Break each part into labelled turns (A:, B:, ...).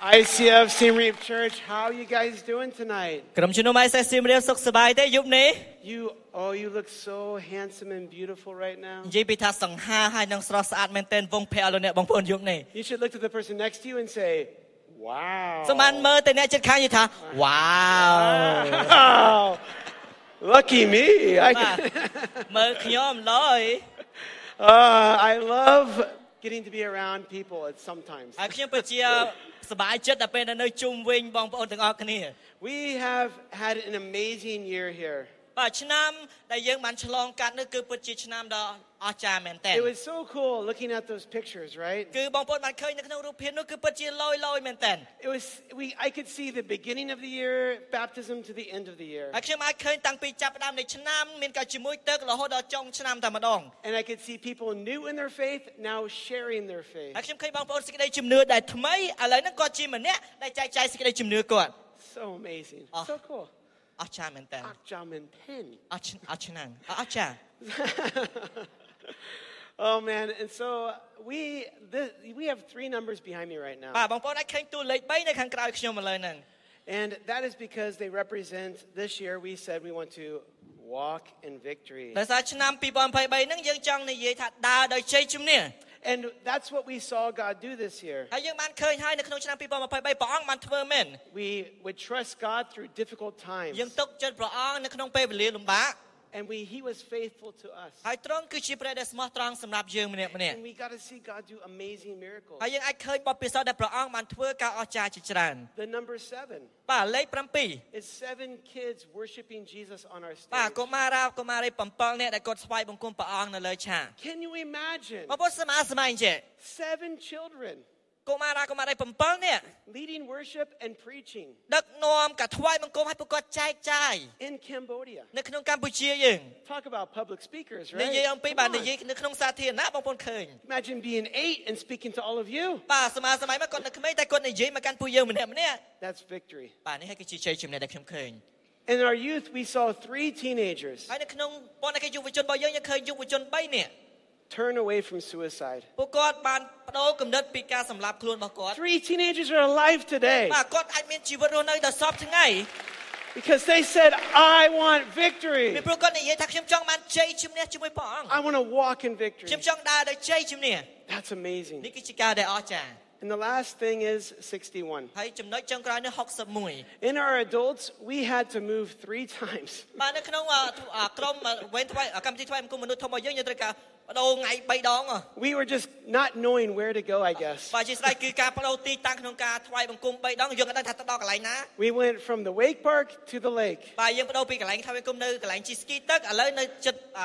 A: ICF Siem Reap Church, how you guys doing tonight?
B: ក្រុមជំនុំ ISS សៀមរាបសុខសប្បាយទេយប់នេះ
A: You, oh, you look so handsome and beautiful right now.
B: និយាយពីថាសង្ហាហើយនឹងស្រស់ស្អាតមែនទែនវងភ័ក្រលោកអ្នកបងប្អូនយប់នេះ
A: You should look to the person next to you and say, wow.
B: សម្បានមើលទៅអ្នកចិត្តខាងនិយាយថាវ៉ាវ
A: Wow. Lucky me. I,
B: បាទ
A: can,
B: មើលខ្ញុំឡយ
A: uh, I love getting to be around people at sometimes.
B: ហើយខ្ញុំពិតជាសប្បាយចិត្តដល់ពេលនៅជុំវិញបងប្អូនទាំងអស់គ្នា
A: We have had an amazing year here.
B: បាទឆ្នាំដែលយើងបានឆ្លងកាត់នេះគឺពិតជាឆ្នាំដ៏អស្ចារ្យមែនទែន
A: It was so cool looking at those pictures, right?
B: គឺបងប្អូនបានឃើញនៅក្នុងរូបភាពនោះគឺពិតជាឡយឡយមែនទែន
A: It was we I could see the beginning of the year, baptism to the end of the year.
B: ហើយខ្ញុំអាចឃើញតាំងពីចាប់ផ្ដើមនៃឆ្នាំមានការជាមួយទឹករហូតដល់ចុងឆ្នាំតែម្ដង
A: And I could see people new in their faith now sharing their faith.
B: ហើយខ្ញុំឃើញបងប្អូនសេចក្តីជំនឿដែលថ្មីឥឡូវហ្នឹងគាត់ជាម្នាក់ដែលចែកចាយសេចក្តីជំនឿគាត់
A: So amazing.
B: Ah.
A: So cool.
B: អស្ចារ្យមែនតើ
A: Akjam and Penn.
B: អស្ចារ្យអស្ឆ្នាំអស្ចារ្យ
A: Oh man, and so we this, we have three numbers behind me right now.
B: បាទបងប្អូនអាចឃើញតួលេខ3នៅខាងក្រោយខ្ញុំឥឡូវហ្នឹង
A: And that is because they represent this year we said we want to walk in victory.
B: ដោយសារឆ្នាំ2023ហ្នឹងយើងចង់និយាយថាដើរដោយជ័យជំនះ
A: And that's what we saw God do this year.
B: ហើយយើងបានឃើញហើយនៅក្នុងឆ្នាំ2023ព្រះអង្គបានធ្វើមែន
A: We would trust God through difficult times.
B: យើងទុកចិត្តព្រះអង្គនៅក្នុងពេលវេលាលំបាក
A: And we he was faithful to us.
B: ហើយទ្រង់គឺជាព្រះដែលស្មោះត្រង់សម្រាប់យើងម្នាក់ម្នាក់
A: And we got to see God do amazing miracles.
B: ហើយយើងអាចឃើញបទពិសោធន៍ដែលព្រះអង្គបានធ្វើការអស្ចារ្យជាច្រើន
A: The number 7
B: បាទលេខ7
A: is seven kids worshiping Jesus on our
B: បាទ
A: stage.
B: កុមារាកុមារី7នាក់ដែលគាត់ស្វែងបង្គំព្រះអង្គនៅលើឆាក
A: Can you imagine
B: បងប្អូនសមាសម័យចេះ
A: seven children
B: កុមារាកុមារី7នាក់
A: leading worship and preaching
B: ដឹកនាំការថ្វាយបង្គំឲ្យពួកគាត់ចែកចាយ
A: in Cambodia?
B: នៅក្នុងកម្ពុជាយើង
A: Talk about public speakers,
B: និយាយ
A: right?
B: អំពី
A: Come
B: បាទ
A: on.
B: និយាយនៅក្នុងសាធារណៈបងប្អូនឃើញ
A: Imagine being eight and speaking to all of you.
B: បាទសមាសម័យមកគាត់នៅក្មេងតែគាត់និយាយមកកាន់ពួកយើងម្នាក់ម្នាក់
A: That's victory.
B: បាទនេះហើយគឺជាជ័យជំនះដែលខ្ញុំឃើញ
A: In our youth, we saw three teenagers
B: ហើយនៅក្នុងប៉ុន្តែគេយុវជនរបស់យើងយើងឃើញយុវជន3នាក់
A: turn away from suicide.
B: ពួកគាត់បានបដូរគំនិតពីការសម្លាប់ខ្លួនរបស់គាត់
A: Three teenagers are alive today
B: បាទគាត់អាចមានជីវិតរស់នៅដល់សពថ្ងៃ
A: because they said, I want
B: ពី
A: victory.
B: ព្រោះគាត់និយាយថាខ្ញុំចង់បានជ័យជំនះជាមួយព្រះអង្គ
A: I want to walk in victory.
B: ខ្ញុំចង់ដើរដោយជ័យជំនះ
A: That's amazing.
B: នេះគឺជាការដែលអស្ចារ្យ
A: And the last thing is 61.
B: ហើយចំណុចចុងក្រោយនេះ61
A: In our adults, we had to move three times.
B: បាទនៅក្នុងអអក្រុមអវេនថ្វាយអកម្មវិធីថ្វាយបង្គំមនុស្សធំរបស់យើងយើងត្រូវការបដូរថ្ងៃ3ដងហ៎
A: We were just not knowing where to go, I guess.
B: បាទជាស្ដេចគឺការបដូរទីតាំងក្នុងការថ្វាយបង្គំ3ដងយើងអត់ដឹងថាទៅដល់កន្លែងណា
A: We went from the wake park to the lake.
B: បាទយើងបដូរពីកន្លែងថ្វាយបង្គំនៅកន្លែងជីស្គីទឹកឥឡូវនៅចិត្តអ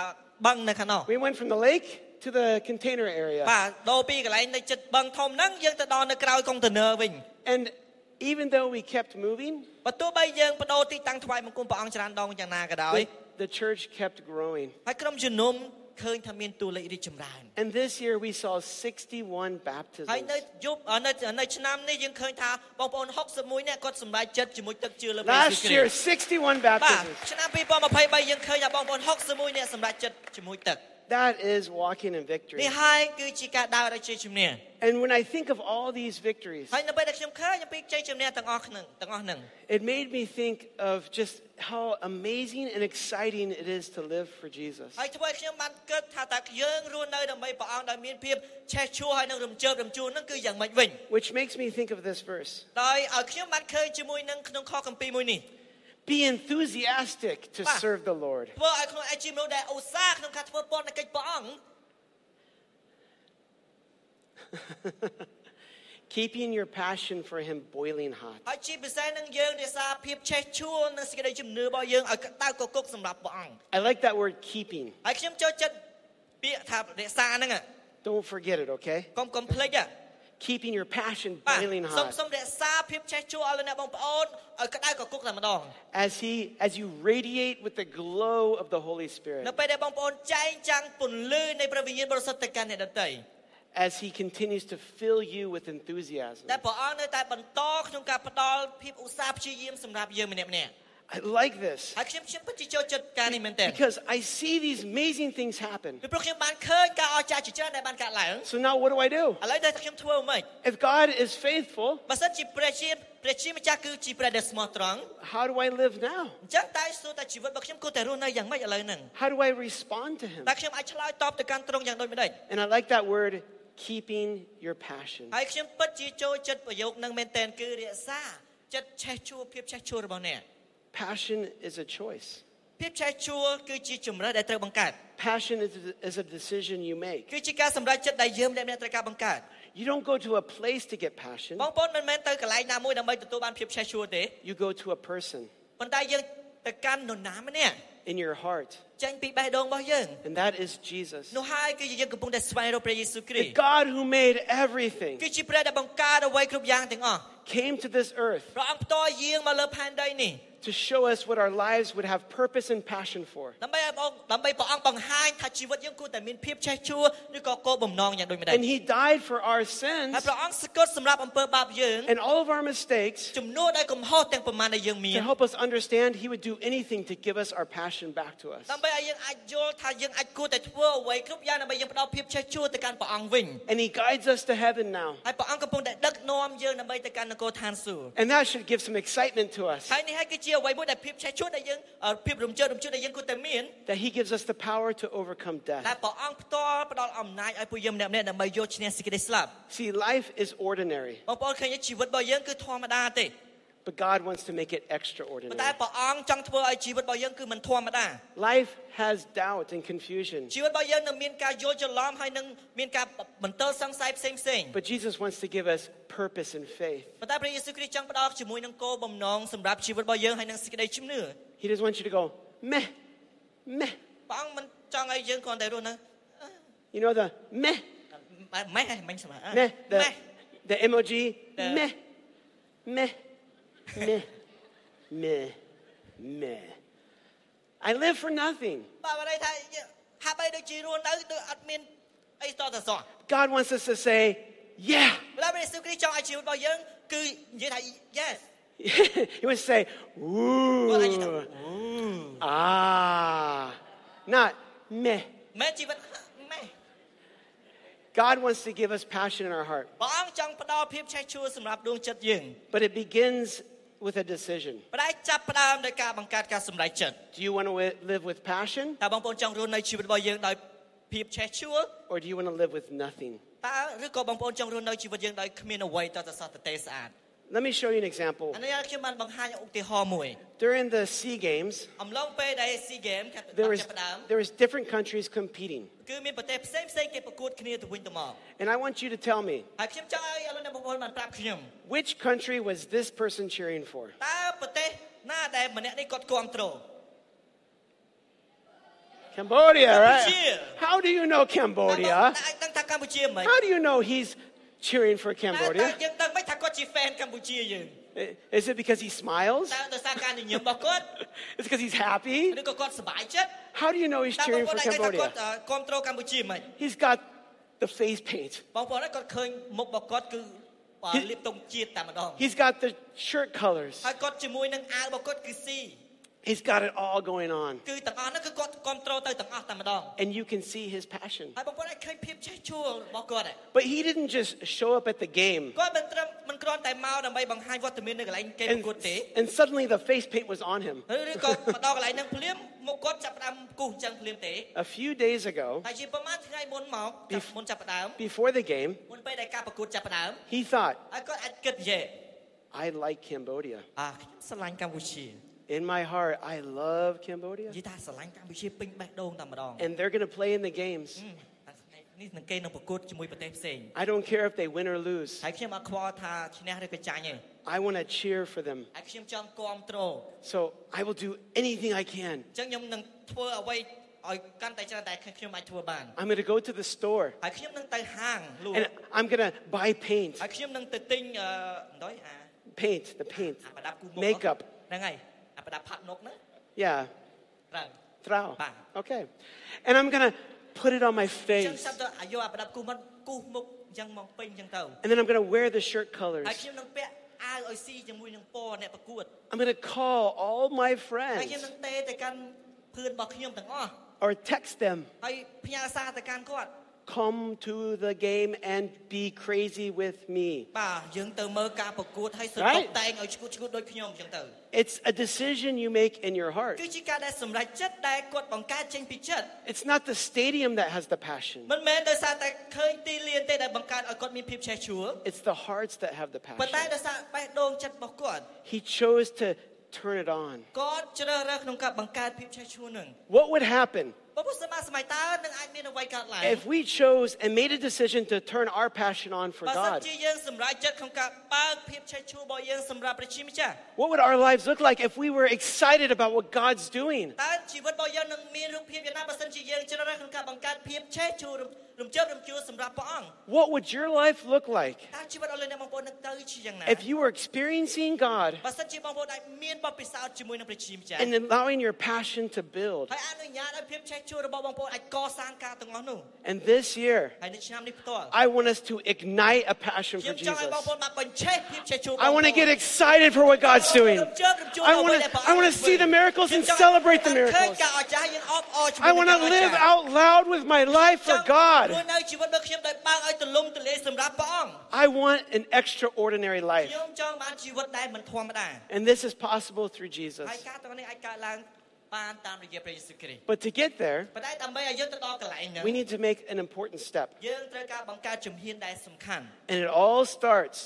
B: បឹងនៅខាងនោះ
A: We went from the lake to the container area.
B: បាទដូរពីកន្លែងនៅចិត្តបឹងធំហ្នឹងយើងទៅដល់នៅក្រោយកុងតឺន័រវិញ
A: And even though we kept moving,
B: បើទោះបីយើងបដូរទីតាំងថ្វាយបង្គំព្រះអង្គច្រើនដងយ៉ាងណាក៏ដោយ
A: the, the church kept growing.
B: ហើយក្រុមជំនុំឃើញថាមានតួលេខរីកចម្រើន
A: And this year we saw 61
B: ហើយ
A: baptisms.
B: នៅយប់អ่าនៅនៅឆ្នាំនេះយើងឃើញថាបងប្អូន61នាក់គាត់សម្រេចចិត្តជាមួយទឹកជឿលើព្រះយេស៊ូវ
A: Last
B: គ្រី
A: year,
B: ស្ទ
A: 61
B: បាទ
A: baptisms.
B: ឆ្នាំ2023យើងឃើញថាបងប្អូន61នាក់សម្រេចចិត្តជាមួយទឹក
A: That is walking in
B: នេះ
A: victory.
B: ហើយគឺជាការដើរដោយជ័យជំនះ
A: And when I think of all these victories,
B: ហើយនៅពេលដែលខ្ញុំឃើញអំពីជ័យជំនះទាំងអស់ហ្នឹងទាំងអស់ហ្នឹង
A: It made me think of just how amazing and exciting it is to live for Jesus.
B: ហើយធ្វើឲ្យខ្ញុំបានគិតថាតើយើងរស់នៅដើម្បីព្រះអង្គដោយមានភាពឆេះឆួលហើយនឹងរំជើបរំជួលហ្នឹងគឺយ៉ាងម៉េចវិញ
A: Which makes me think of this verse
B: ដោយឲ្យខ្ញុំបានឃើញជាមួយនឹងក្នុងខកម្ពីរមួយនេះ
A: Be enthusiastic to
B: Ba.
A: serve the Lord.
B: ធ្វើឲ្យខ្លួនឯងជាមនុស្សដែលឧស្សាហ៍ក្នុងការធ្វើពរណកិច្ចព្រះអង្គ
A: Keeping your passion for Him boiling hot.
B: ហើយជាពិសេសនឹងយើងរក្សាភាពឆេះឆួលនិងសេចក្តីជំនឿរបស់យើងឲ្យក្តៅកគុកសម្រាប់ព្រះអង្គ
A: I like that word keeping.
B: ហើយខ្ញុំចូលចិត្តពាក្យថារក្សាហ្នឹងហ៎
A: Don't forget it, okay?
B: កុំកុំភ្លេចហ៎
A: Keeping your passion
B: បាទ
A: boiling
B: សូម
A: hot.
B: សូមរក្សាភាពឆេះឆួលឲ្យលោកអ្នកបងប្អូនឲ្យក្តៅកគុកតែម្ដង
A: As He as you radiate with the glow of the Holy
B: នៅ
A: Spirit.
B: ពេលដែលបងប្អូនចែងចាំងពន្លឺនៃព្រះវិញ្ញាណបរិសុទ្ធទៅកាន់អ្នកដទៃ
A: As He continues to fill you with enthusiasm.
B: តែព្រះអង្គនៅតែបន្តក្នុងការផ្ដល់ភាពឧស្សាហ៍ព្យាយាមសម្រាប់យើងម្នាក់ម្នាក់
A: I like this
B: ហើយខ្ញុំខ្ញុំពិតជាចូលចិត្តការនេះមែនទែន
A: because I see these amazing things happen.
B: ពីព្រោះខ្ញុំបានឃើញការអស្ចារ្យជាច្រើនដែលបានកើតឡើង
A: So now what do I do?
B: ឥឡូវតែលខ្ញុំធ្វើមិន
A: If God is faithful,
B: បើសិនជាព្រះជាព្រះជាម្ចាស់គឺជាព្រះដែលស្មោះត្រង់
A: how do I live now?
B: អញ្ចឹងតែសួរតែជីវិតរបស់ខ្ញុំគួរតែរស់នៅយ៉ាងម៉េចឥឡូវហ្នឹង
A: How do I respond to Him?
B: តែខ្ញុំអាចឆ្លើយតបទៅកាន់ត្រង់យ៉ាងដូចម្ដេច
A: And I like that word, keeping your passion.
B: ហើយខ្ញុំពិតជាចូលចិត្តប្រយោគហ្នឹងមែនទែនគឺរក្សាចិត្តឆេះឈួរភាពឆេះឈួររបស់អ្នក
A: Passion is a choice.
B: ភាពឆេះឈួរគឺជាជំរើសដែលត្រូវបង្កើត
A: Passion is a, is a decision you make.
B: គឺជាការសម្រេចចិត្តដែលយើងម្នាក់ៗត្រូវការបង្កើត
A: You don't go to a place to get passion.
B: បងប្អូនមិនមែនទៅកន្លែងណាមួយដើម្បីទទួលបានភាពឆេះឈួរទេ
A: You go to a person
B: ប៉ុន្តែយើងទៅកាន់នរណាម្នាក់
A: in your heart,
B: ចេញពីបេះដូងរបស់យើង
A: and that is Jesus.
B: នោះហើយគឺជាយើងកំពុងតែស្វែងរកព្រះយេស៊ូវគ្រី
A: The
B: ស្ទ
A: God who made everything
B: គឺជាព្រះដែលបង្កើតអ្វីគ្រប់យ៉ាងទាំងអស់
A: came to this earth
B: ព្រះអង្គផ្ទាល់យាងមកលើផែនដីនេះ
A: to show us what our lives would have purpose and passion for.
B: ដើម្បីឲ្យបងដើម្បីព្រះអង្គបង្ហាញថាជីវិតយើងគួរតែមានភាពឆេះឈួរឬក៏គោលបំណងយ៉ាងដូចម្ដេច
A: And He died for our
B: ហើយ
A: sins
B: ព្រះអង្គស្គត់សម្រាប់អំពើបាបយើង
A: and all of our mistakes
B: ជំនួសដល់កំហុសទាំងប៉ុន្មានដែលយើងមា
A: to
B: ន
A: help us understand He would do anything to give us our passion back to us.
B: ដើម្បីឲ្យយើងអាចយល់ថាយើងអាចគួរតែធ្វើអ្វីគ្រប់យ៉ាងដើម្បីយើងផ្ដល់ភាពឆេះឈួរទៅកាន់ព្រះអង្គវិញ
A: And He guides us to heaven now.
B: ហើយព្រះអង្គកំពុងតែដឹកនាំយើងដើម្បីទៅកាន់នគរឋានសួគ៌
A: And that should give some excitement to us
B: ហើយនេះហើយគឺជាអ្វីមួយដែលភាពឆេះឈួរដែលយើងអឺភាពរំជើបរំជឿដែលយើងគួរតែមាន
A: that He gives us the power to overcome
B: តែ
A: death.
B: ព្រះអង្គផ្ទាល់ផ្ដល់អំណាចឲ្យពួកយើងម្នាក់ៗដើម្បីយកឈ្នះសេចក្តីស្លាប់
A: See, life is ordinary,
B: បងប្អូនឃើញទេជីវិតរបស់យើងគឺធម្មតាទេ
A: but God wants to make it
B: ប៉ុន្តែ
A: extraordinary.
B: ព្រះអង្គចង់ធ្វើឲ្យជីវិតរបស់យើងគឺមិនធម្មតា
A: Life has doubt and confusion,
B: ជីវិតរបស់យើងនឹងមានការយល់ច្រឡំហើយនឹងមានការបន្តសង្ស័យផ្សេងផ្សេង
A: but Jesus wants to give us purpose and faith.
B: ប៉ុន្តែព្រះយេស៊ូវគ្រីស្ទចង់ផ្ដល់ជាមួយនឹងគោលបំណងសម្រាប់ជីវិតរបស់យើងហើយនឹងសេចក្តីជំនឿ
A: He doesn't want you to go, meh, meh.
B: ព្រះអង្គមិនចង់ឲ្យយើងគ្រាន់តែរស់នៅ
A: You know the meh,
B: ម៉េះហ៎មិញស្មើ
A: meh, the,
B: ម៉េះ
A: the emoji,
B: The-
A: meh, meh, meh, meh, meh. I live for nothing.
B: បើបើន័យថាយើងហាក់បីដូចជារស់នៅដូចអត់មានអីតត សោះ
A: God wants us to say, yeah.
B: ប៉ុន្តែព្រះយេស៊ូវគ្រីស្ទចង់ឲ្យជីវិតរបស់យើងគឺនិយាយថា yes
A: he would say,
B: Well, I just-
A: ooh, ah, not meh.
B: មែនជីវិតម៉េះ
A: God wants to give us passion in our heart,
B: ព្រះអង្គចង់ផ្ដល់ភាពឆេះឈួរសម្រាប់ដួងចិត្តយើង
A: but it begins with a decision.
B: បណ្ដាចាប់ផ្ដើមដោយការបង្កើតការសម្រេចចិត្ត
A: Do you want to wi- live with passion
B: តើបងប្អូនចង់រស់នៅជីវិតរបស់យើងដោយភាពឆេះឈួរ
A: or do you want to live with nothing?
B: តើឬក៏បងប្អូនចង់រស់នៅជីវិតយើងដោយគ្មានអ្វីតតសោះតទេស្អាត
A: Let me show you an example.
B: អានេះខ្ញុំបានបង្ហាញឧទាហរណ៍មួយ
A: During the SEA Games, អំ
B: អំឡុងពេលដែល SEA Games ចាប់ផ្ដើ
A: there
B: ម
A: was,
B: ចាប់ផ្ដើម
A: there was different countries competing.
B: គឺមានប្រទេសផ្សេងផ្សេងគេប្រកួតគ្នាទៅវិញទៅមក
A: And I want you to tell me,
B: ហើយខ្ញុំចង់ឲ្យឥឡូវអ្នកបងប្អូនបានប្រាប់ខ្ញុំ
A: which country was this person cheering for?
B: តើប្រទេសណាដែលម្នាក់នេះគាត់គ្រប់គ្រង
A: Cambodia, right?
B: Cambodia.
A: How do you know
B: តើបង
A: Cambodia?
B: អាចដឹងថាកម្ពុជាមិន
A: How do you know he's cheering for
B: តើតើ
A: Cambodia?
B: យើងដឹងមិនថាគាត់ជា fan កម្ពុជាយើង
A: I- Is it because he smiles?
B: តើដោយសារការញញឹមរបស់គាត់
A: Is it because he's happy?
B: ឬក៏គាត់សប្បាយចិត្ត
A: How do you know he's
B: តើបង
A: cheering
B: ប្អូ
A: for
B: នអាចដឹងថាគា
A: Cambodia?
B: ត់អឺគ្រប់គ្រងកម្ពុជាមិន
A: He's got the face paint.
B: បងប្អូនហ្នឹងគាត់ឃើញមុខរបស់គាត់គឺអឺ
A: He-
B: លៀបតុងជាតិតែម្ដង
A: He's got the shirt colors.
B: ហើយគាត់ជាមួយនឹងអាវរបស់គាត់គឺស៊ី
A: He's got it all going on.
B: គឺទាំងអស់ហ្នឹងគឺគាត់គ្រប់គ្រងទៅទាំងអស់តែម្ដង
A: And you can see his passion.
B: ហើយបងប្អូនអាចឃើញភាពចេះជួលរបស់គាត់ឯង
A: But he didn't just show up at the game
B: គាត់មិនត្រឹមមិនគ្រាន់តែមកដើម្បីបង្ហាញវត្តមាននៅកន្លែងគេប្រ
A: and,
B: កួតទេ
A: and suddenly the face paint was on him.
B: ឬឬក៏មកដល់កន្លែងហ្នឹងភ្លាមមកគាត់ចាប់ផ្ដើមគូសអញ្ចឹងភ្លាមទេ
A: A few days ago,
B: តែជាប្រហែលថ្ងៃមុនមកចាប់មុនចាប់ផ្ដើម
A: before the game,
B: មុនពេលដែលការប្រកួតចាប់ផ្ដើម
A: he thought,
B: ហើយគាត់អាចគិតនិយាយ
A: I like Cambodia.
B: អាខ្ញុំស្រឡាញ់កម្ពុជា
A: In my heart, I love Cambodia.
B: និយាយថាស្រឡាញ់កម្ពុជាពេញបេះដូងតែម្ដង
A: And they're going to play in the games.
B: តែថ្ងៃនេះនឹងគេនឹងប្រកួតជាមួយប្រទេសផ្សេង
A: I don't care if they win or lose.
B: ហើយខ្ញុំអត់ខ្វល់ថាឈ្នះឬក៏ចាញ់ទេ
A: I want to cheer for them.
B: ហើយខ្ញុំចង់គ្រប់គ្រង
A: So I will do anything I can.
B: អញ្ចឹងខ្ញុំនឹងធ្វើអ្វីឲ្យកាន់តែច្រើនតែខ្ញុំអាចធ្វើបាន
A: I'm going to go to the store
B: ហើយខ្ញុំនឹងទៅហាងលក់
A: and I'm going to buy paint.
B: ហើយខ្ញុំនឹងទៅទិញអឺអីអា
A: Paint, the paint.
B: អាប្រដាប់គូមុខហ្
A: Makeup
B: នឹងហ្នឹងហើយអាប្រដាប់ផាត់មុខហ្នឹង
A: Yeah,
B: ត្រូវ
A: trao.
B: Bang.
A: Okay. And I'm going to put it on my
B: អញ្ចឹង
A: face.
B: ចាប់ទៅអាយកអាប្រដាប់គូមុខគូសមុខអញ្ចឹងមកពេញអញ្ចឹងទៅ
A: And then I'm going to wear the shirt
B: ហើយ
A: colors.
B: ខ្ញុំនឹងពាក់ អាវឲ្យស៊ីជាមួយនឹងពណ៌អ្នកប្រកួត
A: I'm going to call all my
B: ហើយ
A: friends
B: ខ្ញុំនឹងទេទៅកាន់ភឿនរបស់ខ្ញុំទាំងអស់
A: or text them
B: ហើយផ្ញើសារទៅកាន់គាត់
A: come to the game and be crazy with me.
B: បាទយើងទៅមើលការប្រកួតហើយសុទ្ធ
A: Right.
B: តែងឲ្យឈ្ងួតឈ្ងួតដូចខ្ញុំអញ្ចឹងទៅ
A: It's a decision you make in your heart.
B: គឺជាការដែលសម្រេចចិត្តដែលគាត់បង្កើតចេញពីចិត្ត
A: It's not the stadium that has the passion,
B: មិនមែនដោយសារតែឃើញទីលានទេដែលបង្កើតឲ្យគាត់មានភាពឆេះឆួល
A: it's the hearts that have the
B: ប៉ុន្តែ
A: passion.
B: ដោយសារបេះដូងចិត្តរបស់គាត់
A: He chose to turn it on.
B: គាត់ជ្រើសរើសក្នុងការបង្កើតភាពឆេះឆួលនឹង
A: What would happen
B: បើពុទ្ធសមាសម័យតើនឹងអាចមានអ្វីកើតឡើង
A: if we chose and made a decision to turn our passion on for
B: បើសិន
A: God?
B: ជាយើងសម្រេចចិត្តក្នុងការបើកភាពឆេះឆួលរបស់យើងសម្រាប់ព្រះជាម្ចាស់
A: What would our lives look like if we were excited about what God's doing?
B: តើជីវិតរបស់យើងនឹងមានរូបភាពយ៉ាងណាបើសិនជាយើងជ្រើសរើសក្នុងការបង្កើតភាពឆេះឆួលរំរំជើបរំជួលសម្រាប់ព្រះអង្គ
A: What would your life look like
B: តើជីវិតអស់លោកអ្នកបងប្អូននឹងទៅជាយ៉ាងណា
A: if you were experiencing God
B: បើសិនជាបងប្អូនអាចមានបទពិសោធន៍ជាមួយនឹងព្រះជាម្ចាស់
A: and allowing your passion to build?
B: ហើយអនុញ្ញាតឲ្យភាពឆេះឆួលរបស់បងប្អូនអាចកសាងការទាំងអស់នោះ
A: And this year,
B: ហើយនៅឆ្នាំនេះផ្ទាល់
A: I want us to ignite a passion
B: យើ
A: for
B: ងចង់ឲ្យបង
A: Jesus.
B: ប្អូនបានបញ្ឆេះភាពឆេះឆួល
A: I want to get excited for what God's doing. I want to I want to see the miracles and celebrate the miracles.
B: ការអស្ចារ្យយើងអបអរជាមួយ
A: I want to
B: នឹងការ
A: live
B: អស្ចារ្យ
A: out loud with my life
B: ចង់
A: for
B: រ
A: God.
B: ស់នៅជីវិតរបស់ខ្ញុំដោយបើកឲ្យទលំទលាយសម្រាប់ព្រះអង្គ
A: I want an extraordinary life.
B: ខ្ញុំចង់បានជីវិតដែលមិនធម្មតា
A: And this is possible through Jesus.
B: ហើយការទាំងនេះអាចកើតឡើងបានតាមរយៈព្រះយេស៊ូវគ្រីស្ទ
A: But to get there,
B: ប៉ុន្តែដើម្បីឲ្យយើងទៅដល់កន្លែងហ្នឹង
A: we need to make an important step.
B: យើងត្រូវការបង្កើតជំហានដែលសំខាន់
A: And it all starts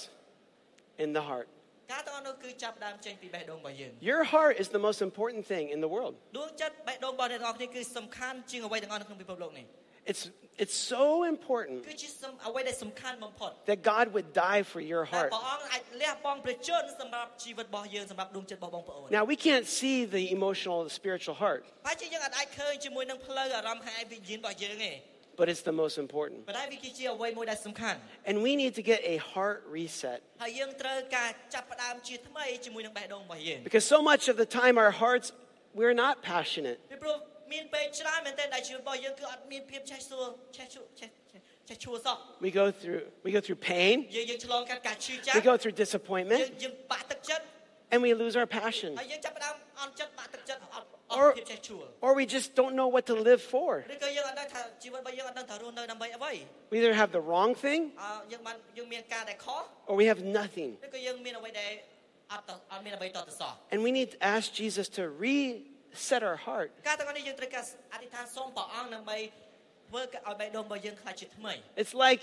A: in the heart.
B: ការទាំងអស់នោះគឺចាប់ផ្ដើមចេញពីបេះដូងរបស់យើង
A: Your heart is the most important thing in the world.
B: ដួងចិត្តបេះដូងរបស់អ្នកទាំងអស់គ្នាគឺសំខាន់ជាងអ្វីទាំងអស់នៅក្នុងពិភពលោកនេះ
A: It's it's so important
B: គឺជាសំអ្វីដែលសំខាន់បំផុត
A: that God would die for your
B: តែ
A: heart.
B: ព្រះអង្គអាចលះបង់ព្រះជន្មសម្រាប់ជីវិតរបស់យើងសម្រាប់ដួងចិត្តរបស់បងប្អូន
A: Now we can't see the emotional, the spiritual heart,
B: ហើយជាយើងអាចអាចឃើញជាមួយនឹងផ្លូវអារម្មណ៍ហើយវិញ្ញាណរបស់យើងទេ
A: but it's the most important.
B: ប៉ុន្តែវាគឺជាអ្វីមួយដែលសំខាន់
A: And we need to get a heart reset
B: ហើយយើងត្រូវការចាប់ផ្ដើមជាថ្មីជាមួយនឹងបេះដូងរបស់យើង
A: because so much of the time our hearts we're not passionate.
B: ពីព្រោះមានពេលច្រើនមែនទែនដែលជីវិតរបស់យើងគឺអត់មានភាពឆេះសួរឆេះឈួឆេះឆេះឆេះឈួសោះ
A: We go through we go through pain,
B: យើងយើងឆ្លងកាត់ការឈឺចា
A: we
B: ក់
A: go through
B: យើង
A: disappointment,
B: យើងបាក់ទឹកចិត្ត
A: and we lose our passion,
B: ហើយយើងចាប់ផ្ដើមអន់ចិត្តបាក់ទឹកចិត្តអត់អ
A: Or-
B: ត់ភាពចេះឈួល
A: or we just don't know what to live for.
B: ឬក៏យើងអត់ដឹងថាជីវិតរបស់យើងអត់ដឹងថារស់នៅដើម្បីអ្វី
A: We either have the wrong thing
B: អឺយើងបានយើងមានការដែលខុស
A: or we have nothing.
B: ឬក៏យើងមានអ្វីដែលអត់តអត់មានអ្វីតតទៅសោះ
A: And we need to ask Jesus to reset our heart
B: ការទាំងអស់នេះយើងត្រូវការអធិដ្ឋានសូមព្រះអង្គដើម្បីធ្វើឲ្យបេះដូងរបស់យើងខ្លាចជាថ្មី
A: It's like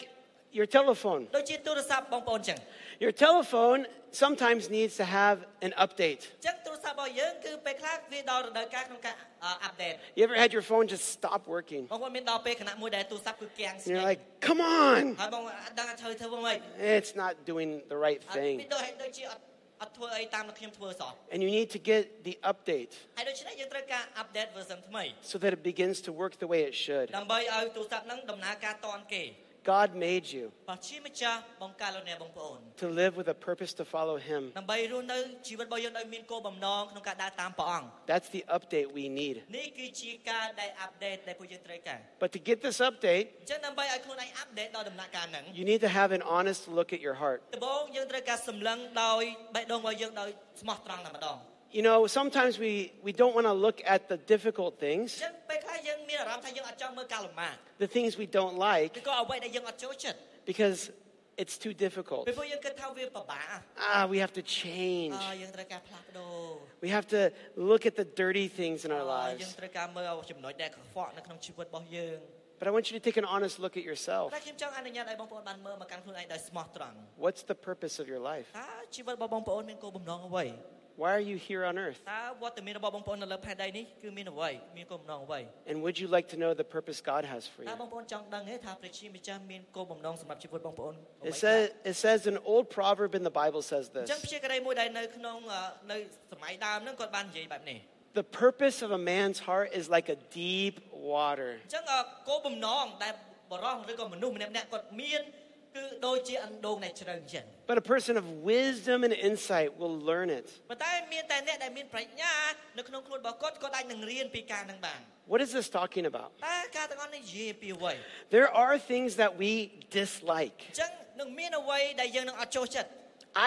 A: your telephone.
B: ដូចជាទូរស័ព្ទបងប្អូនចឹង
A: Your telephone sometimes needs to have an update.
B: ចឹងទូរស័ព្ទរបស់យើងគឺពេលខ្លះវាដល់រដូវកាលក្នុងការអាប់ដេត
A: You ever had your phone just stop working?
B: បងប្អូនមានដល់ពេលខណៈមួយដែលទូរស័ព្ទគឺគាំង
A: And you're like, "Come on,
B: ហើយបងប្អូនអត់ដឹងថាត្រូវធ្វើម៉េច
A: it's not doing the right
B: អត់
A: thing."
B: មានដូចដូចជាអត់អត់ធ្វើអីតាមដែលខ្ញុំធ្វើសោះ
A: And you need to get the update
B: ហើយដូច្នេះយើងត្រូវការ update version ថ្មី
A: so that it begins to work the way it should.
B: ដើម្បីឲ្យទូរស័ព្ទហ្នឹងដំណើរការតាន់គេ
A: God made you
B: បើជាម្ចាស់បង្កើតលោកអ្នកបងប្អូន
A: to live with a purpose to follow Him.
B: ដើម្បីរស់នៅជីវិតរបស់យើងដោយមានគោលបំណងក្នុងការដើរតាមព្រះអង្គ
A: That's the update we need.
B: នេះគឺជាការដែល update ដែលពួកយើងត្រូវការ
A: But to get this update,
B: អញ្ចឹងដើម្បីឲ្យខ្លួនឯង update ដល់ដំណាក់កាលហ្នឹង
A: you need to have an honest look at your heart.
B: ដំបូងយើងត្រូវការសម្លឹងដោយបេះដូងរបស់យើងដោយស្មោះត្រង់តែម្ដង
A: You know, sometimes we, we don't want to look at the difficult
B: អ
A: things,
B: ញ្ចឹងពេលខ្លះយើងមានអារម្មណ៍ថាយើងអត់ចង់មើលការលំបាក
A: the things we don't
B: ឬ
A: like,
B: ក៏អ្វីដែលយើងអត់ចូលចិត្ត
A: because it's too difficult.
B: ពេលពួកយើងគិតថាវាពិបាក
A: Ah, we have to change.
B: អើយើងត្រូវការផ្លាស់ប្ដូរ
A: We have to look at the dirty things in our
B: យើង
A: lives.
B: ត្រូវការមើលចំណុចដែលកខ្វក់នៅក្នុងជីវិតរបស់យើង
A: But I want you to take an honest look at yourself.
B: តែខ្ញុំចង់អនុញ្ញាតឲ្យបងប្អូនបានមើលមកកាន់ខ្លួនឯងដោយស្មោះត្រង់
A: What's the purpose of your life?
B: តើជីវិតរបស់បងប្អូនមានគោលបំណងអ្វី
A: Why are you here on earth?
B: តើវត្តមានរបស់បងប្អូននៅលើផែនដីនេះគឺមានអ្វីមានគោលបំណងអ្វី
A: And would you like to know the purpose God has for you?
B: តើបងប្អូនចង់ដឹងទេថាព្រះជាម្ចាស់មានគោលបំណងសម្រាប់ជីវិតបងប្អូនអ្វី
A: It
B: ខ្លះ
A: says, it says an old proverb in the Bible says
B: អញ្ចឹង
A: this
B: ព្យាករៃមួយដែលនៅក្នុងអឺនៅសម័យដើមហ្នឹងគាត់បាននិយាយបែបនេះ
A: The purpose of a man's heart is like a deep water.
B: អញ្ចឹងអឺគោលបំណងដែលបរោះឬក៏មនុស្សម្នាក់ៗគាត់មានគឺដូចជាអណ្ដូងដែលជ្រៅអញ្ចឹង
A: But a person of wisdom and insight will learn it.
B: ប៉ុន្តែមានតែអ្នកដែលមានប្រាជ្ញានៅក្នុងខ្លួនរបស់គាត់គាត់អាចនឹងរៀនពីការហ្នឹងបាន
A: What is this talking about?
B: តើការទាំងអស់នេះនិយាយពីអ្វី
A: There are things that we dislike.
B: អញ្ចឹងនឹងមានអ្វីដែលយើងនឹងអត់ចូលចិត្ត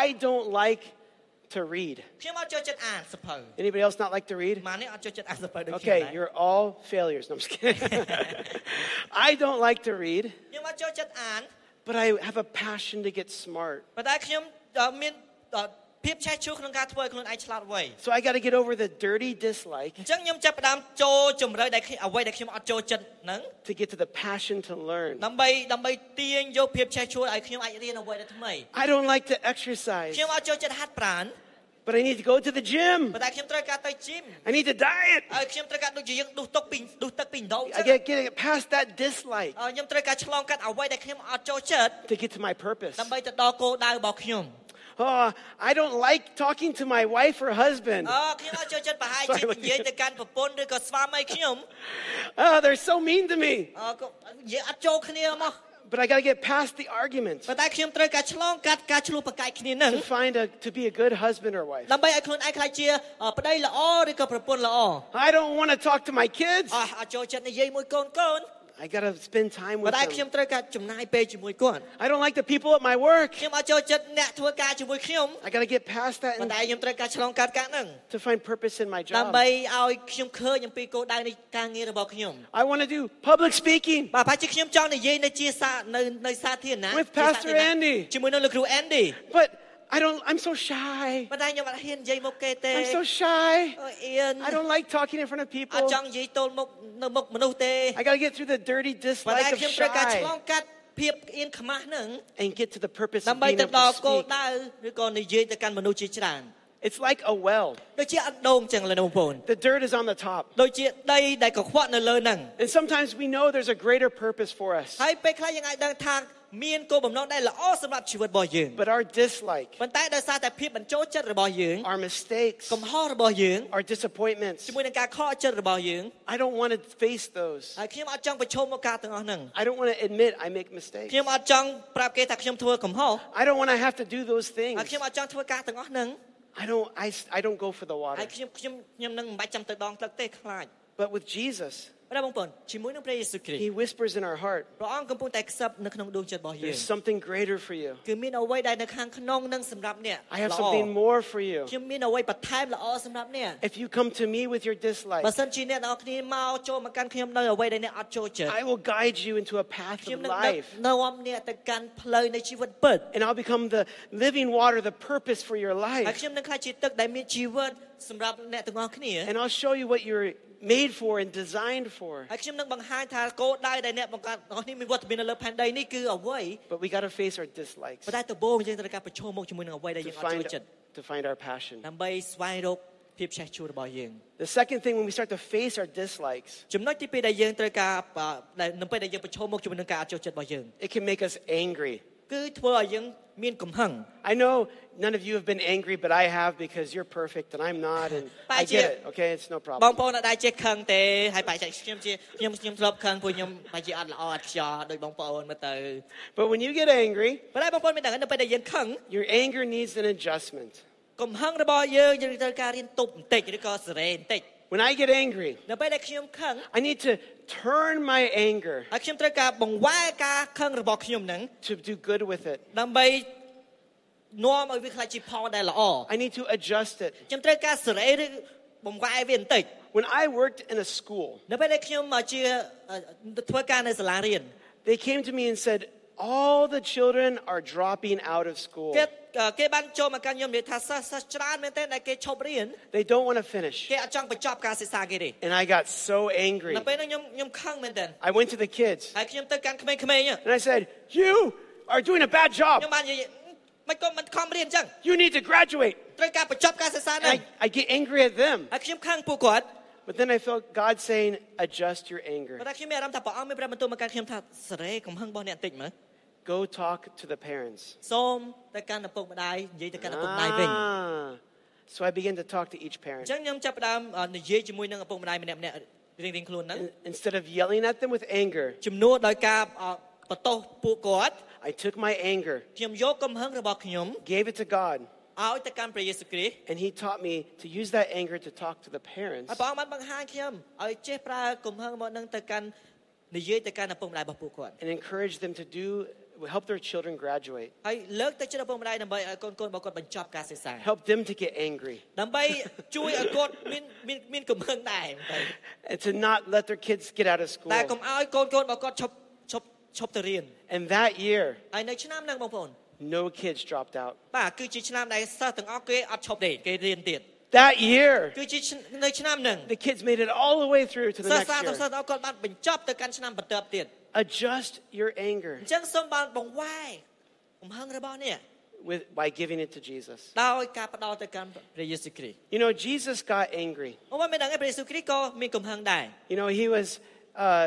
A: I don't like to read.
B: ខ្ញុំអត់ចូលចិត្តអានសៀវភៅ
A: Anybody else not like to read?
B: ម៉ានេះអត់ចូលចិត្តអានសៀវភៅដូចខ្ញុំដែ
A: Okay,
B: រ
A: you're all failures. No, I'm just kidding. I don't like to read,
B: ខ្ញុំអត់ចូលចិត្តអាន
A: but I have a passion to get smart.
B: ប៉ុន្តែខ្ញុំអឺមានអឺភាពឆេះឈួរក្នុងការធ្វើឲ្យខ្លួនឯងឆ្លាតវៃ
A: So I got to get over the dirty dislike
B: អញ្ចឹងខ្ញុំចាប់ផ្ដើមចូលជំរឿដែលខ្ញុំអ្វីដែលខ្ញុំអត់ចូលចិត្តហ្នឹង
A: to get to the passion to learn.
B: ដើម្បីដើម្បីទាញយកភាពឆេះឈួរឲ្យខ្ញុំអាចរៀនអ្វីដែលថ្មី
A: I don't like to exercise,
B: ខ្ញុំអត់ចូលចិត្តហាត់ប្រាណ
A: but I need to go to the gym.
B: ប៉ុន្តែខ្ញុំត្រូវការទៅជីម
A: I need to diet.
B: ហើយខ្ញុំត្រូវការដូចជាយើងដុសទឹកពីដុសទឹកពីដង
A: I got to get past that dislike
B: អឺខ្ញុំត្រូវការឆ្លងកាត់អ្វីដែលខ្ញុំអត់ចូលចិត្ត
A: to get to my purpose.
B: ដើម្បីទៅដល់គោលដៅរបស់ខ្ញុំ
A: Oh, I don't like talking to my wife or husband.
B: អឺខ្ញុំអត់ចូលចិត្តប្រហែ លជា
A: Sorry.
B: និយាយទៅកាន់ប្រពន្ធឬក៏ស្វាមីខ្ញុំ
A: Oh, they're so mean to me.
B: អឺក៏និយាយអត់ចូលគ្នាមក
A: But I got to get past the arguments
B: ប៉ុន្តែខ្ញុំត្រូវការឆ្លងកាត់ការឆ្លោះប្រកែកគ្នានឹង
A: to find a to be a good husband or wife.
B: ដើម្បីឲ្យខ្លួនឯងខ្លាចជាអឺប្តីល្អឬក៏ប្រពន្ធល្អ
A: I don't want to talk to my kids.
B: អស់អត់ចូលចិត្តនិយាយមួយកូនកូន
A: I got to spend time
B: ប៉ុ
A: with
B: ន្តែខ្ញុំ
A: them.
B: ត្រូវការចំណាយពេលជាមួយគាត់
A: I don't like the people at my work.
B: ខ្ញុំអត់ចូលចិត្តអ្នកធ្វើការជាមួយខ្ញុំ
A: I got to get past that
B: ប៉ុ
A: and
B: ន្តែខ្ញុំត្រូវការឆ្លងកាត់ការហ្នឹង
A: to find purpose in my
B: ដើ
A: job.
B: ម្បីឲ្យខ្ញុំឃើញអំពីគោលដៅនៃការងាររបស់ខ្ញុំ
A: I want to do public speaking.
B: បាទប្រហែលជាខ្ញុំចង់និយាយនៅជាសានៅនៅសាធារណៈ
A: With
B: ជាសាធារ
A: Pastor
B: ណៈ
A: Andy.
B: ជាមួយនឹងលោកគ្រូ Andy
A: But I don't I'm so shy.
B: ប៉ុន្តែខ្ញុំអត់ហ៊ាននិយាយមុខគេទេ
A: I'm so shy.
B: អូអៀន
A: I don't like talking in front of
B: អត់
A: people.
B: ចង់និយាយទល់មុខនៅមុខមនុស្សទេ
A: I got to get through the dirty
B: ប៉ុន្តែ
A: dislike of
B: ខ្ញុំត្រូវការឆ្ល
A: shy
B: ងកាត់ភាពអៀនខ្មាស់ហ្នឹង
A: and get to the purpose
B: ដើ
A: of
B: ម្បី
A: being
B: ទៅ
A: able
B: ដល់
A: to
B: គោល
A: speak.
B: ដៅឬក៏និយាយទៅកាន់មនុស្សជាច្រើន
A: It's like a well.
B: ដូចជាអណ្ដូងចឹងលោកបងប្អូន
A: The dirt is on the top.
B: ដូចជាដីដែលកខ្វក់នៅលើហ្នឹង
A: And sometimes we know there's a greater purpose for us.
B: ហើយពេលខ្លះយើងអាចដឹងថាមានគោលបំណងដែលល្អសម្រាប់ជីវិតរបស់យើង
A: But our dislike,
B: ប៉ុន្តែដោយសារតែភាពមិនចូលចិត្តរបស់យើង
A: our mistakes,
B: កំហុសរបស់យើង
A: our disappointments,
B: ជាមួយនឹងការខកចិត្តរបស់យើង
A: I don't want to face those.
B: ហើយខ្ញុំអត់ចង់ប្រឈមមុខការទាំងអស់ហ្នឹង
A: I don't want to admit I make mistakes.
B: ខ្ញុំអត់ចង់ប្រាប់គេថាខ្ញុំធ្វើកំហុស
A: I don't want to have to do those
B: ហើយ
A: things.
B: ខ្ញុំអត់ចង់ធ្វើការទាំងអស់ហ្នឹង
A: I don't I, s- I don't go for the
B: ហើ
A: water.
B: យខ្ញុំខ្ញុំខ្ញុំនឹងមិនបាច់ចាំទៅដងទឹកទេខ្លាច
A: But with Jesus,
B: ព្រះបងប្អូនជាមួយនឹងព្រះយេស៊ូវគ្រីស្ទ
A: he whispers in our heart,
B: ព្រះអង្គកំពុងតែខ្សឹបនៅក្នុងដួងចិត្តរបស់យើង
A: there's something greater for you.
B: គឺមានអ្វីដែលនៅខាងក្នុងនឹងសម្រាប់អ្នក
A: I have
B: ល្អ
A: something more for you.
B: ខ្ញុំមានអ្វីបន្ថែមល្អសម្រាប់អ្នក
A: If you come to me with your dislike,
B: បើសិនជាអ្នកទាំងអស់គ្នាមកចូលមកកាន់ខ្ញុំនៅអ្វីដែលអ្នកអត់ចូលចិត្ត
A: I will guide you into a path
B: ខ្ញុំ
A: of
B: នឹងដឹក
A: life.
B: នាំអ្នកទៅកាន់ផ្លូវនៃជីវិតពិត
A: And I'll become the living water, the purpose for your
B: ហើយ
A: life.
B: ខ្ញុំនឹងខ្លាចជាទឹកដែលមានជីវិតសម្រាប់អ្នកទាំងអស់គ្នា
A: And I'll show you what you're made for and designed for.
B: ហើយខ្ញុំនឹងបង្ហាញថាគោលដៅដែលអ្នកបង្កើតទាំងអស់នេះមានវត្តមាននៅលើផែនដីនេះគឺអ្វី
A: But we got to face our dislikes
B: ប៉ុន្តែដំបូងយើងត្រូវការប្រឈមមុខជាមួយនឹងអ្វីដែល
A: to
B: យើងអត់ចូល
A: find,
B: ចិត្ត
A: to find our passion.
B: ដើម្បីស្វែងរកភាពឆេះឈួររបស់យើង
A: The second thing, when we start to face our dislikes,
B: ចំណុចទី2ដែលយើងត្រូវការបើដែលនៅពេលដែលយើងប្រឈមមុខជាមួយនឹងការអត់ចូលចិត្តរបស់យើង
A: it can make us angry.
B: គឺធ្វើឲ្យយើងមានកំហឹង
A: I know none of you have been angry, but I have because you're perfect and I'm not, and I get it. Okay, it's no
B: បង
A: problem.
B: ប្អូនអត់ដែរចេះខឹងទេហើយបែរជាខ្ញុំជាខ្ញុំខ្ញុំធ្លាប់ខឹងពួកខ្ញុំបែរជាអត់ល្អអត់ខ្យល់ដោយបងប្អូនមើលទៅ
A: But when you get angry,
B: ប៉ុន្តែបងប្អូនមានដឹងនៅពេលដែលយើងខឹង
A: your anger needs an adjustment.
B: កំហឹងរបស់យើងយើងត្រូវការរៀនទប់បន្តិចឬក៏សេរីបន្តិច
A: When I get angry,
B: នៅពេលដែលខ្ញុំខឹង
A: I need to turn my anger
B: ហើយខ្ញុំត្រូវការបង្វែរការខឹងរបស់ខ្ញុំហ្នឹង
A: to do good with it.
B: ដើម្បីនាំឲ្យវាខ្លាចជាផលដែលល្អ
A: I need to adjust it.
B: ខ្ញុំត្រូវការសេរីឬបង្វែរវាបន្តិច
A: When I worked in a school,
B: នៅពេលដែលខ្ញុំមកជាអឺធ្វើការនៅសាលារៀន
A: they came to me and said, All the children are dropping out of school.
B: គេគេបានចូលមកកាន់ខ្ញុំនិយាយថាសិស្សសិស្សច្រើនមែនទែនដែលគេឈប់រៀន
A: They don't want to finish.
B: គេអត់ចង់បញ្ចប់ការសិក្សាគេទេ
A: And I got so angry.
B: នៅពេលហ្នឹងខ្ញុំខ្ញុំខឹងមែនទែន
A: I went to the kids
B: ហើយខ្ញុំទៅកាន់ក្មេងៗហ្នឹង
A: and I said, You are doing a bad job.
B: ខ្ញុំបាននិយាយមិនក៏មិនខំរៀនអញ្ចឹង
A: You need to graduate.
B: ត្រូវការបញ្ចប់ការសិក្សាហ្នឹង
A: And I, I get angry at them.
B: ហើយខ្ញុំខឹងពួកគាត់
A: But then I felt God saying, Adjust your anger.
B: ប៉ុន្តែខ្ញុំមានអារម្មណ៍ថាព្រះអង្គមានព្រះបន្ទូលមកកាន់ខ្ញុំថាសេរីកំហឹងរបស់អ្នកបន្តិចមើល
A: Go talk to the parents.
B: សូមទៅកាន់ឪពុកម្ដាយនិយាយទៅកាន់ឪពុកម្ដាយវិញ
A: Ah. So I began to talk to each
B: អញ្
A: parent.
B: ចឹងខ្ញុំចាប់ផ្ដើមអ่าនិយាយជាមួយនឹងឪពុកម្ដាយម្នាក់ម្នាក់រៀងៗខ្លួនហ្នឹង
A: In- Instead of yelling at them with anger,
B: ជំនួសដោយការអ่าបន្ទោសពួកគាត់
A: I took my anger,
B: ខ្ញុំយកកំហឹងរបស់ខ្ញុំ
A: gave it to God,
B: ឲ្យទៅកាន់ព្រះយេស៊ូវគ្រីស្ទ
A: and He taught me to use that anger to talk to the parents
B: ហើយព្រះអង្គបានបង្ហាញខ្ញុំឲ្យចេះប្រើកំហឹងរបស់នឹងទៅកាន់និយាយទៅកាន់ឪពុកម្ដាយរបស់ពួកគាត់
A: and encourage them to do help their children graduate,
B: ហើយលើកទៅជិតឪពុកម្ដាយដើម្បីឲ្យកូនកូនរបស់គាត់បញ្ចប់ការសិក្សា
A: help them to get angry,
B: ដើម្បីជួយឲ្យគាត់មានមានមានកំហឹងដែរតែ
A: and to not let their kids get out of school.
B: តែកុំឲ្យកូនកូនរបស់គាត់ឈប់ឈប់ឈប់ទៅរៀន
A: And that year,
B: ហើយនៅឆ្នាំហ្នឹងបងប្អូន
A: no kids dropped out.
B: បាទគឺជាឆ្នាំដែលសិស្សទាំងអស់គេអត់ឈប់ទេគេរៀនទៀត
A: That year,
B: គឺជាឆ្ននៅឆ្នាំហ្នឹង
A: the kids made it all the way through to the
B: សិស្ស
A: next
B: សាស្ត្រទាំង
A: year.
B: សិស្សទាំងអស់គាត់បានបញ្ចប់ទៅកាន់ឆ្នាំបន្ទាប់ទៀត
A: Adjust your anger
B: អញ្ចឹងសូមបានបង្វែរកំហឹងរបស់នេះ
A: with, by giving it to Jesus.
B: ដោយការផ្ដោតទៅកាន់ព្រះយេស៊ូវគ្រីស្ទ
A: You know, Jesus got angry.
B: អូមិនដឹងឯងព្រះយេស៊ូវគ្រីស្ទក៏មានកំហឹងដែរ
A: You know, he was uh,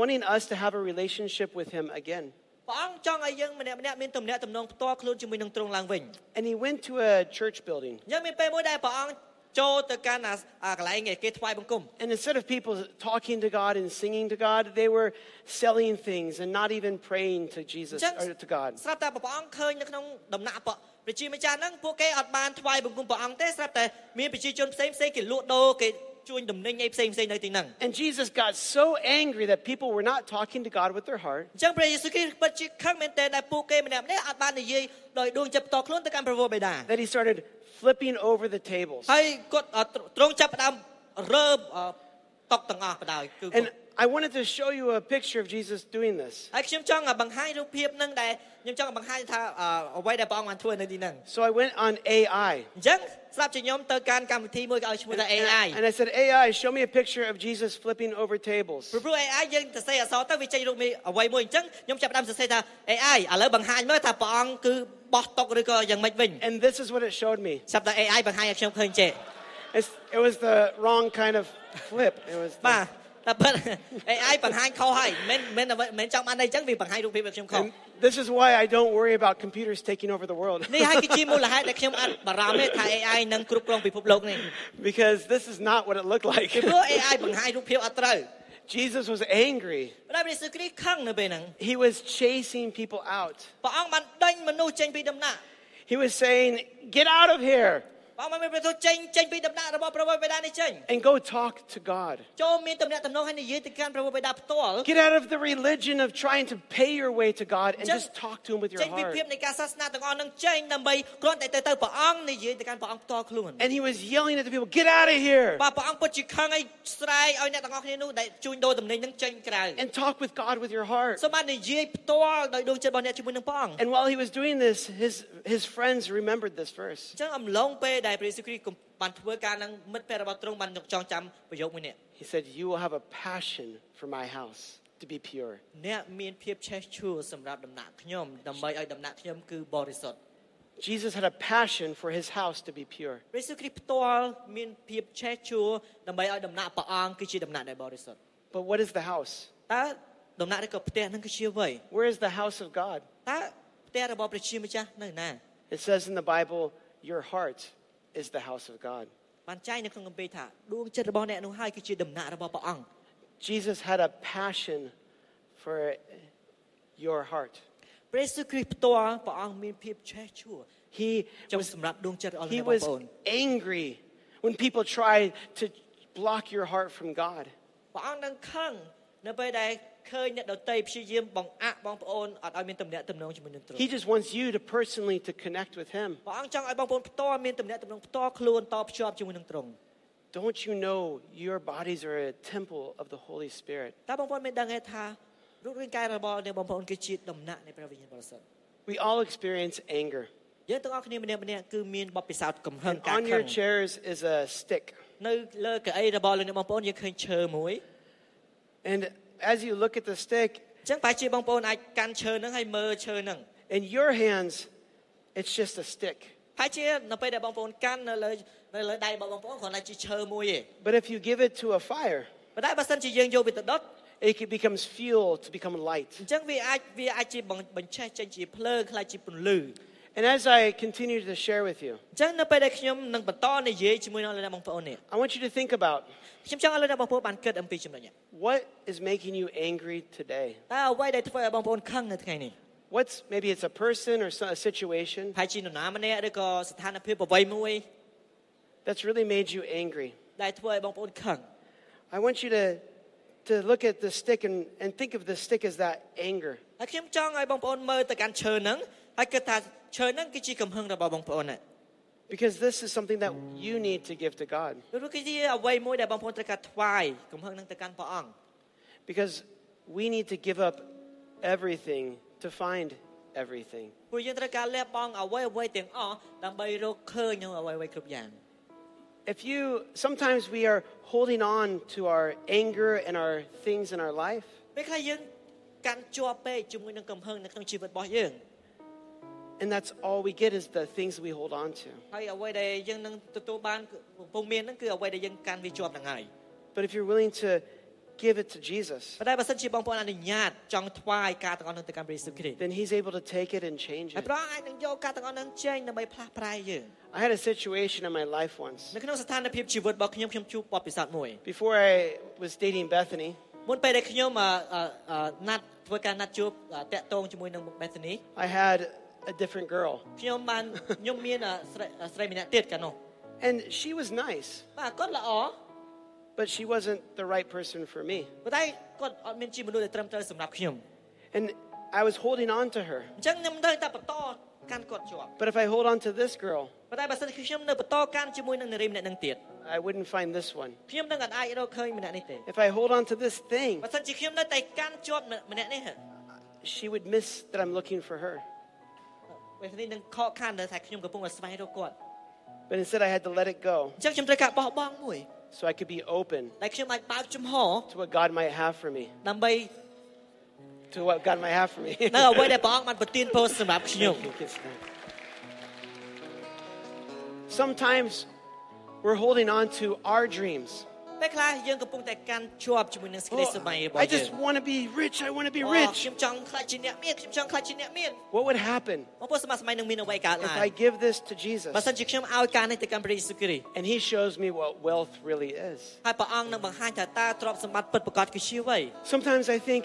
A: wanting us to have a relationship with him again.
B: ព្រះអង្គចង់ឲ្យយើងម្នាក់ម្នាក់ៗមានទំនាក់ទំនងផ្ទាល់ខ្លួនជាមួយនឹងទ្រង់ឡើងវិញ
A: And he went to a church building.
B: អញ្ចឹងមានពេលមួយដែលព្រះអង្គចូលទៅកាន់អាអាកន្លែងគេថ្វាយបង្គំ
A: And instead of people talking to God and singing to God, they were selling things and not even praying to
B: អ
A: Jesus
B: ញ្ចឹង
A: or to God.
B: ស្រាប់តែព្រះអង្គឃើញនៅក្នុងដំណាក់ព្រះព្រះជាម្ចាស់ហ្នឹងពួកគេអត់បានថ្វាយបង្គំព្រះអង្គទេស្រាប់តែមានប្រជាជនផ្សេងផ្សេងៗគេលក់ដូរគេជួញដំណេញអីផ្សេងផ្សេងៗនៅទីហ្នឹង
A: And Jesus got so angry that people were not talking to God with their heart.
B: អញ្ចឹងព្រះយេស៊ូវគ្រីស្ទពិតជាខឹងមែនទែនដែលពួកគេម្នាក់ម្នាក់ៗអាចបាននិយាយដោយដួងចិត្តផ្ទាល់ខ្លួនទៅកាន់ព្រះវរបិតា
A: that he started flipping over the tables.
B: ហើយគាត់អ่าទ្រង់ចាប់ផ្ដើមរើបអ่าតុកទាំងអស់បណ្ដោយគឺគាត់
A: And I wanted to show you a picture of Jesus doing this.
B: ហើយខ្ញុំចង់បង្ហាញរូបភាពហ្នឹងដែលខ្ញុំចង់បង្ហាញថាអ่าអ្វីដែលព្រះអង្គបានធ្វើនៅទីហ្នឹង
A: So I went on AI.
B: អញ្ចឹងស្រាប់ជាខ្ញុំទៅកាន់កម្មវិធីមួយគេឲ្យឈ្មោះថា AI
A: And I said, AI, show me a picture of Jesus flipping over tables.
B: ព្រោះព្រោះ AI យើងសរសេរអក្សរទៅវាចេញរូបមានអ្វីមួយអញ្ចឹងខ្ញុំចាប់ផ្ដើមសរសេរថា AI ឥឡូវបង្ហាញមើលថាព្រះអង្គគឺបោះតុកឬក៏យ៉ាងម៉េចវិញ
A: And this is what it showed me.
B: ស្រាប់តែ AI បង្ហាញឲ្យខ្ញុំឃើញចេះ
A: It's, it was the wrong kind of flip. It was the-
B: បាទតែពិត AI បង្ហាញខុសហើយមិនមិនអ្វីមិនចង់បានអីអញ្ចឹងវាបង្ហាញរូបភាពឲ្យខ្ញុំខុស
A: and this is why I don't worry about computers taking over the world.
B: នេះហើយគឺជា មូលហេតុដែលខ្ញុំអត់បារម្ភទេថា AI នឹងគ្រប់គ្រងពិភពលោកនេះ
A: because this is not what it looked
B: ពី
A: like.
B: ព្រោះ AI បង្ហាញរូបភាពអត់ត្រូវ
A: Jesus was angry.
B: ព្រះព្រះយេស៊ូវគ្រីស្ទខឹងនៅពេលហ្នឹង
A: He was chasing people out.
B: ព្រះអង្គបានដេញមនុស្សចេញពីដំណាក់
A: He was saying, Get out of here
B: ព្រះអង្គបានប្រទោសចេញចេញពីដំណាក់របស់ព្រះវរបិតានេះចេញ
A: and go talk to God.
B: ចូលមានតំណែងតំណងឲ្យនិយាយទៅកាន់ព្រះវរបិតាផ្ទាល់
A: Get out of the religion of trying to pay your way to God and
B: Just-
A: just talk to Him with
B: ចេញ
A: your
B: ពីភាព
A: heart.
B: នៃការសាសនាទាំងអស់នឹងចេញដើម្បីគ្រាន់តែទៅទៅព្រះអង្គនិយាយទៅកាន់ព្រះអង្គផ្ទាល់ខ្លួន
A: And he was yelling at the people, Get out of here!
B: បាទព្រះអង្គពិតជាខឹងឲ្យស្រែកឲ្យអ្នកទាំងអស់គ្នានោះដែលជួញដូរតំណែងនឹងចេញក្រៅ
A: And talk with God with your heart.
B: សូមបាននិយាយផ្ទាល់ដោយដួងចិត្តរបស់អ្នកជាមួយនឹងព្រះអង្គ
A: And while he was doing this, his, his friends remembered this verse.
B: អញ្ចឹងអំឡុងពេលដែលព្រះយេស៊ូវគ្រីស្ទបានធ្វើការនឹងមិត្តភក្តិរបស់ទ្រង់បានយកចងចាំប្រយោគមួយនេះ
A: He said, You will have a passion for my house to be pure.
B: អ្នកមានភាពឆេះឈួលសម្រាប់ដំណាក់ខ្ញុំដើម្បីឲ្យដំណាក់ខ្ញុំគឺបរិសុទ្ធ
A: Jesus had a passion for his house to be pure.
B: ព្រះយេស៊ូវគ្រីស្ទផ្ទាល់មានភាពឆេះឈួលដើម្បីឲ្យដំណាក់ព្រះអង្គគឺជាដំណាក់ដែលបរិសុទ្ធ
A: But what is the house?
B: តើដំណាក់ឬក៏ផ្ទះហ្នឹងគឺជាអ្វី
A: Where is the house of God?
B: តើផ្ទះរបស់ព្រះជាម្ចាស់នៅណា
A: It says in the Bible, Your heart is the house of God.
B: បានចែងនៅក្នុងគម្ពីរថាដួងចិត្តរបស់អ្នកនោះហើយគឺជាដំណាក់របស់ព្រះអង្គ
A: Jesus had a passion for your heart.
B: ព្រះយេស៊ូវគ្រីស្ទផ្ទាល់ព្រះអង្គមានភាពឆេះឈួល
A: He
B: ចង់សម្រាប់ដួងចិត្តរបស់
A: He
B: បង
A: was
B: ប្អូន
A: angry when people tried to block your heart from God.
B: ព្រះអង្គនឹងខឹងនៅពេលដែលឃើញអ្នកដតីព្យាយាមបង្អាក់បងប្អូនអត់ឲ្យមានទំនាក់ទំនងជាមួយនឹងទ្រង់
A: He just wants you to personally to connect with him.
B: ព្រះអង្គចង់ឲ្យបងប្អូនផ្ទាល់មានទំនាក់ទំនងផ្ទាល់ខ្លួនតភ្ជាប់ជាមួយនឹងទ្រង់
A: Don't you know your bodies are a temple of the Holy Spirit?
B: តើបងប្អូនមានដឹងទេថារូបរាងកាយរបស់អ្នកបងប្អូនគឺជាដំណាក់នៃព្រះវិញ្ញាណបរិសុទ្ធ
A: We all experience anger.
B: យើងទាំងអស់គ្នាម្នាក់ម្នាក់ៗគឺមានបទពិសោធន៍កំហឹង
A: And
B: ការ
A: on
B: ខឹ
A: your
B: ង
A: chairs is a stick.
B: នៅលើកៅអីរបស់លោកអ្នកបងប្អូនយើងឃើញឈើមួយ
A: And as you look at the stick,
B: អញ្ចឹងប្រហែលជាបងប្អូនអាចកាន់ឈើហ្នឹងហើយមើលឈើហ្នឹង
A: in your hands, it's just a stick.
B: ប្រហែលជានៅពេលដែលបងប្អូនកាន់នៅលើនៅលើដៃរបស់បងប្អូនគ្រាន់តែជាឈើមួយឯង
A: But if you give it to a fire,
B: ប៉ុន្តែបើសិនជាយើងយកវាទៅដុត
A: it can- becomes fuel to become light.
B: អញ្ចឹងវាអាចវាអាចជាបង្បញ្ឆេះចេញជាភ្លើងខ្លាចជាពន្លឺ
A: And as I continue to share with you,
B: អញ្ចឹងនៅពេលដែលខ្ញុំនឹងបន្តនិយាយជាមួយនឹងលោកអ្នកបងប្អូននេះ
A: I want you to think about
B: ខ្ញុំចង់ឲ្យលោកអ្នកបងប្អូនបានគិតអំពីចំណុចនេះ
A: What is making you angry today?
B: តើអ្វីដែលធ្វើឲ្យបងប្អូនខឹងនៅថ្ងៃនេះ
A: What's maybe it's a person or so- a situation
B: ប្រហែលជានរណាម្នាក់ឬក៏ស្ថានភាពអ្វីមួយ
A: that's really made you angry.
B: ដែលធ្វើឲ្យបងប្អូនខឹង
A: I want you to to look at the stick and, and think of the stick as that anger.
B: ហើយខ្ញុំចង់ឲ្យបងប្អូនមើលទៅកាន់ឈើហ្នឹងហើយគិតថាឈើហ្នឹងគឺជាកំហឹងរបស់បងប្អូនណា
A: Because this is something that you need to give to God.
B: នោះគឺជាអ្វីមួយដែលបងប្អូនត្រូវការថ្វាយកំហឹងហ្នឹងទៅកាន់ព្រះអង្គ
A: Because we need to give up everything to find everything.
B: ពួកយើងត្រូវការលះបង់អ្វីអ្វីទាំងអស់ដើម្បីរកឃើញនៅអ្វីអ្វីគ្រប់យ៉ាង
A: If you, sometimes we are holding on to our anger and our things in our life,
B: ពេលខ្លះយើងកាន់ជាប់ពេកជាមួយនឹងកំហឹងនៅក្នុងជីវិតរបស់យើង
A: and that's all we get is the things we hold on to.
B: ហើយអ្វីដែលយើងនឹងទទួលបានកំពុងមានហ្នឹងគឺអ្វីដែលយើងកាន់វាជាប់ហ្នឹងហើយ
A: But if you're willing to give it to Jesus,
B: ប៉ុន្តែបើសិនជាបងប្អូនអនុញ្ញាតចង់ថ្វាយការទាំងអស់ហ្នឹងទៅកាន់ព្រះយេស៊ូវគ្រីស្ទ
A: then He's able to take it and change
B: ហើយ
A: it.
B: ព្រះអង្គអាចនឹងយកការទាំងអស់ហ្នឹងចេញដើម្បីផ្លាស់ប្រែយើង
A: I had a situation in my life once.
B: នៅក្នុងស្ថានភាពជីវិតរបស់ខ្ញុំខ្ញុំជួបបទពិសោធន៍មួយ
A: Before I was dating Bethany,
B: មុនពេលដែលខ្ញុំអឺអឺអឺណាត់ធ្វើការណាត់ជួបអឺតាក់ទងជាមួយនឹងមុខបេសនី
A: I had a different girl,
B: ខ្ញុំបានខ្ញុំមានអឺស្រីអឺស្រីម្នាក់ទៀតកាលនោះ
A: and she was nice,
B: បាទគាត់ល្អ
A: but she wasn't the right person for me.
B: ប៉ុន្តែគាត់អត់មានជាមនុស្សដែលត្រឹមត្រូវសម្រាប់ខ្ញុំ
A: And I was holding on to her.
B: អញ្ចឹងខ្ញុំត្រូវតែបន្តកាន់គាត់ជាប់
A: But if I hold on to this girl,
B: ប៉ុន្តែបើសិនជាខ្ញុំនៅបន្តកាន់ជាមួយនឹងនារីម្នាក់នឹងទៀត
A: I wouldn't find this one.
B: ខ្ញុំនឹងអត់អាចរកឃើញម្នាក់នេះទេ
A: If I hold on to this thing,
B: បើសិនជាខ្ញុំនៅតែកាន់ជាប់ម្នាក់នេះហ៎
A: she would miss that I'm looking for her.
B: ពេលនេះនឹងខកខានដែលថាខ្ញុំកំពុងតែស្វែងរកគាត់
A: But instead, I had to let it go
B: អញ្ចឹងខ្ញុំត្រូវការបោះបង់មួយ
A: so I could be open
B: ដែលខ្ញុំអាចបើកចំហ
A: to what God might have for me,
B: ដើម្បី
A: to what God might have for me.
B: នៅ អ្វីដែលព្រះអង្គបានប្រទានពរសម្រាប់ខ្ញុំ
A: Thank you, kiss time. Sometimes we're holding on to our dreams.
B: ពេលខ្លះយើងកំពុងតែកាន់ជាប់ជាមួយនឹងសេចក្តីសុបាយរបស់
A: I
B: យើ
A: just want to be rich. I want to be
B: អូ
A: rich.
B: ខ្ញុំចង់ខ្លាចជាអ្នកមានខ្ញុំចង់ខ្លាចជាអ្នកមាន
A: What would happen
B: បងប្អូនសម័យសម័យនឹងមានអ្វីកើត
A: if
B: ឡើង
A: I give this to
B: បើ
A: Jesus
B: សិនជាខ្ញុំឲ្យការនេះទៅកាន់ព្រះយេស៊ូវគ្រីស្ទ
A: and he shows me what wealth really is?
B: ហើយព្រះអង្គនឹងបង្ហាញថាតើទ្រព្យសម្បត្តិពិតប្រាកដគឺជាអ្វី
A: Sometimes I think,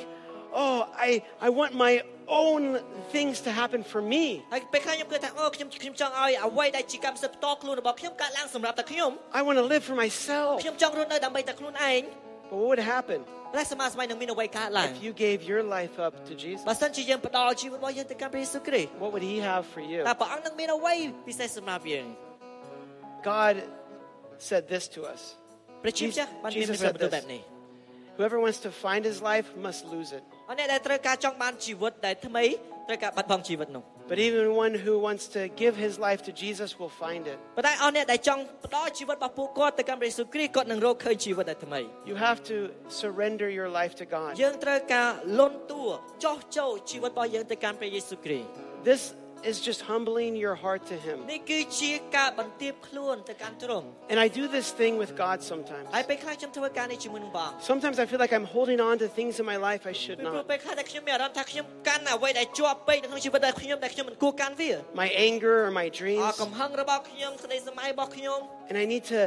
A: oh, I, I want my own things to happen for me.
B: ហើយពេលខ្លះខ្ញុំគិតថាអូខ្ញុំខ្ញុំចង់ឲ្យអ្វីដែលជាកម្មសិទ្ធិផ្ទាល់ខ្លួនរបស់ខ្ញុំកើតឡើងសម្រាប់តែខ្ញុំ
A: I want to live for myself.
B: ខ្ញុំចង់រស់នៅដើម្បីតែខ្លួនឯង
A: But what would happen
B: តែសម័យសម័យនឹងមានអ្វីកើតឡើង
A: if you gave your life up to Jesus?
B: បើសិនជាយើងផ្ដល់ជីវិតរបស់យើងទៅកាន់ព្រះយេស៊ូវគ្រីស្ទ
A: What would he have for you?
B: តើព្រះអង្គនឹងមានអ្វីពិសេសសម្រាប់យើង
A: God said this to us
B: ព្រះជាម្ចាស់បានមាន
A: Jesus
B: ប្រ
A: said
B: តិបត្តិ
A: this.
B: បែបនេះ
A: Whoever wants to find his life must lose it.
B: អរអ្នកដែលត្រូវការចង់បានជីវិតដែលថ្មីត្រូវការបាត់បង់ជីវិតនោះ
A: But even one who wants to give his life to Jesus will find it.
B: ប៉ុន្តែអរអ្នកដែលចង់ផ្ដល់ជីវិតរបស់ពួកគាត់ទៅកាន់ព្រះយេស៊ូវគ្រីស្ទគាត់នឹងរកឃើញជីវិតដែលថ្មី
A: You have to surrender your life to God.
B: យើងត្រូវការលន់តួចោះចូលជីវិតរបស់យើងទៅកាន់ព្រះយេស៊ូវគ្រីស្ទ
A: This is just humbling your heart to him.
B: នេះគឺជាការបន្ទាបខ្លួនទៅកាន់ទ្រង់
A: And I do this thing with God sometimes.
B: ហើយពេលខ្លះខ្ញុំធ្វើការនេះជាមួយនឹងបង
A: Sometimes I feel like I'm holding on to things in my life I should
B: ពីព្រោះ
A: not.
B: ពេលខ្លះតែខ្ញុំមានអារម្មណ៍ថាខ្ញុំកាន់អ្វីដែលជាប់ពេកនៅក្នុងជីវិតរបស់ខ្ញុំដែលខ្ញុំមិនគួរកាន់វា
A: My anger or my
B: អ
A: dreams.
B: កំហឹងរបស់ខ្ញុំសេចក្តីសម័យរបស់ខ្ញុំ
A: And I need to,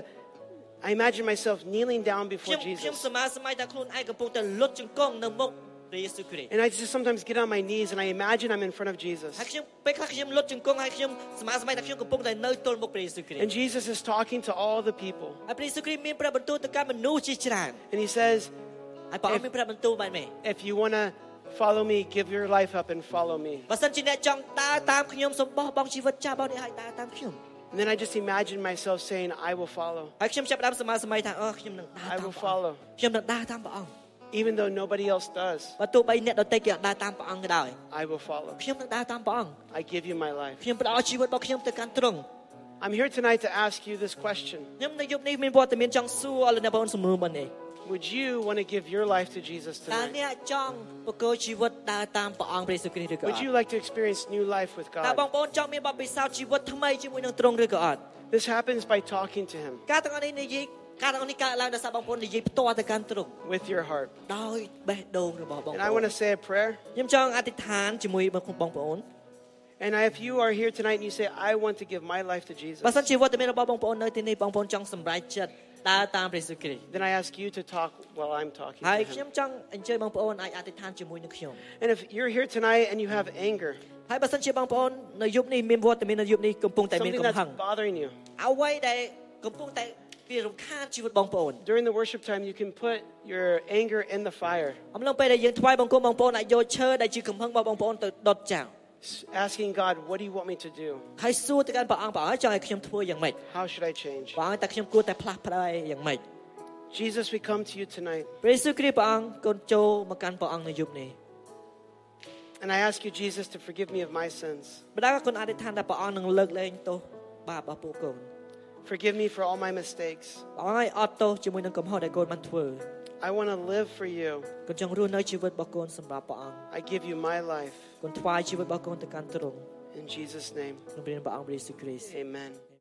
A: I imagine myself kneeling down
B: ខ្ញ
A: before
B: មខ្ញុំ
A: Jesus.
B: សម័យសម័យតែខ្លួនឯងកំពុងតែលុតជង្គង់នៅមុខព្រះយេស៊ូវគ្រីស្ទ
A: And I just sometimes get on my knees and I imagine I'm in front of Jesus.
B: ហើយខ្ញុំពេលខ្លះខ្ញុំលុតជង្គង់ហើយខ្ញុំសម័យសម័យតែខ្ញុំកំពុងតែនៅទល់មុខព្រះយេស៊ូវគ្រីស្ទ
A: And Jesus is talking to all the people.
B: ហើយព្រះយេស៊ូវគ្រីស្ទមានព្រះបន្ទូលទៅកាន់មនុស្សជាច្រើន
A: And he says,
B: ហើយព្រះអង្គមានព្រះបន្ទូលបែបនេះ
A: If you want to follow me, give your life up and follow me.
B: បើសិនជាអ្នកចង់ដើរតាមខ្ញុំសូមបោះបង់ជីវិតចាស់របស់អ្នកឲ្យដើរតាមខ្ញុំ
A: And then I just imagine myself saying, I will follow.
B: ហើយខ្ញុំចាប់ផ្ដើមសម័យសម័យថាអូខ្ញុំនឹងដើ
A: I
B: រតាម
A: will
B: ព្រះអង្គ
A: follow.
B: ខ្ញុំនឹងដើរតាមព្រះអង្គ
A: Even though nobody else does,
B: បើទោះបីអ្នកដទៃគេអត់ដើរតាមព្រះអង្គក៏ដោយ
A: I will follow.
B: ខ្ញុំនឹងដើរតាមព្រះអង្គ
A: I give you my life.
B: ខ្ញុំផ្ដល់ជីវិតរបស់ខ្ញុំទៅកាន់ទ្រង់
A: I'm here tonight to ask you this question
B: ខ្ញុំនៅយប់នេះមានវត្តមានចង់សួរអស់លោកអ្នកបងប្អូនសំណួរបងនេះ
A: Would you want to give your life to Jesus
B: តើ
A: tonight?
B: អ្នកចង់បកគោជីវិតដើរតាមព្រះអង្គព្រះយេស៊ូវគ្រីស្ទឬក៏អ
A: Would
B: ត់
A: you like to experience new life with
B: តើបង
A: God?
B: ប្អូនចង់មានបទពិសោធន៍ជីវិតថ្មីជាមួយនឹងទ្រង់ឬក៏អត់
A: This happens by talking to Him
B: ការទាំងអស់នេះនិយាយការទាំងអស់នេះកើតឡើងដោយសារបងប្អូននិយាយផ្ទាល់ទៅកាន់ទ្រង់
A: with your heart.
B: ដោយបេះដូងរបស់បងប្អូ
A: And
B: ន
A: I want to say a prayer.
B: ខ្ញុំចង់អធិដ្ឋានជាមួយបងប្អូន
A: And if you are here tonight and you say, I want to give my life to
B: បើ
A: Jesus,
B: សិនជាវត្តមានរបស់បងប្អូននៅទីនេះបងប្អូនចង់សម្រេចចិត្តដើរតាមព្រះយេស៊ូវគ្រីស្ទ
A: then I ask you to talk while I'm talking.
B: ហើយ
A: To him.
B: ខ្ញុំចង់អញ្ជើញបងប្អូនអាចអធិដ្ឋានជាមួយនឹងខ្ញុំ
A: And if you're here tonight and you have anger,
B: ហើយបើសិនជាបងប្អូននៅយប់នេះមានវត្តមាននៅយប់នេះកំពុងតែមាន
A: something
B: កំហឹង
A: that's bothering you,
B: អ្វីដែលកំពុងតែ វារំខានជីវិតបងប្អូន
A: During the worship time, you can put your anger in the fire,
B: អំឡុងពេលដែលយើងថ្វាយបង្គំបងប្អូនអាចយកឈើដែលជាកំហឹងរបស់បងប្អូនទៅដុតចោល
A: s- asking God, What do you want me to do?
B: ហើយសួរទៅកាន់ព្រះអង្គព្រះអង្គចង់ឲ្យខ្ញុំធ្វើយ៉ាងម៉េច
A: How should I change?
B: ព្រះអង្គតែខ្ញុំគួរតែផ្លាស់ប្ដូរយ៉ាងម៉េច
A: Jesus, we come to you tonight,
B: ព្រះយេស៊ូវគ្រីស្ទព្រះអង្គកូនចូលមកកាន់ព្រះអង្គនៅយប់នេះ
A: and I ask you, Jesus, to forgive me of my sins.
B: បដាកូនអធិដ្ឋានថាព្រះអង្គនឹងលើកលែងទោសបាបរបស់ពួកកូន
A: Forgive me for all my mistakes.
B: ព្រះអង្គឲ្យអត់ទោសជាមួយនឹងកំហុសដែលកូនបានធ្វើ
A: I want to live for you.
B: កូនចង់រស់នៅជីវិតរបស់កូនសម្រាប់ព្រះអង្គ
A: I give you my life.
B: កូនថ្វាយជីវិតរបស់កូនទៅកាន់ទ្រង់
A: In Jesus' name,
B: ក្នុងព្រះនាមព្រះអង្គព្រះយេស៊ូវគ្រីស្ទ
A: amen.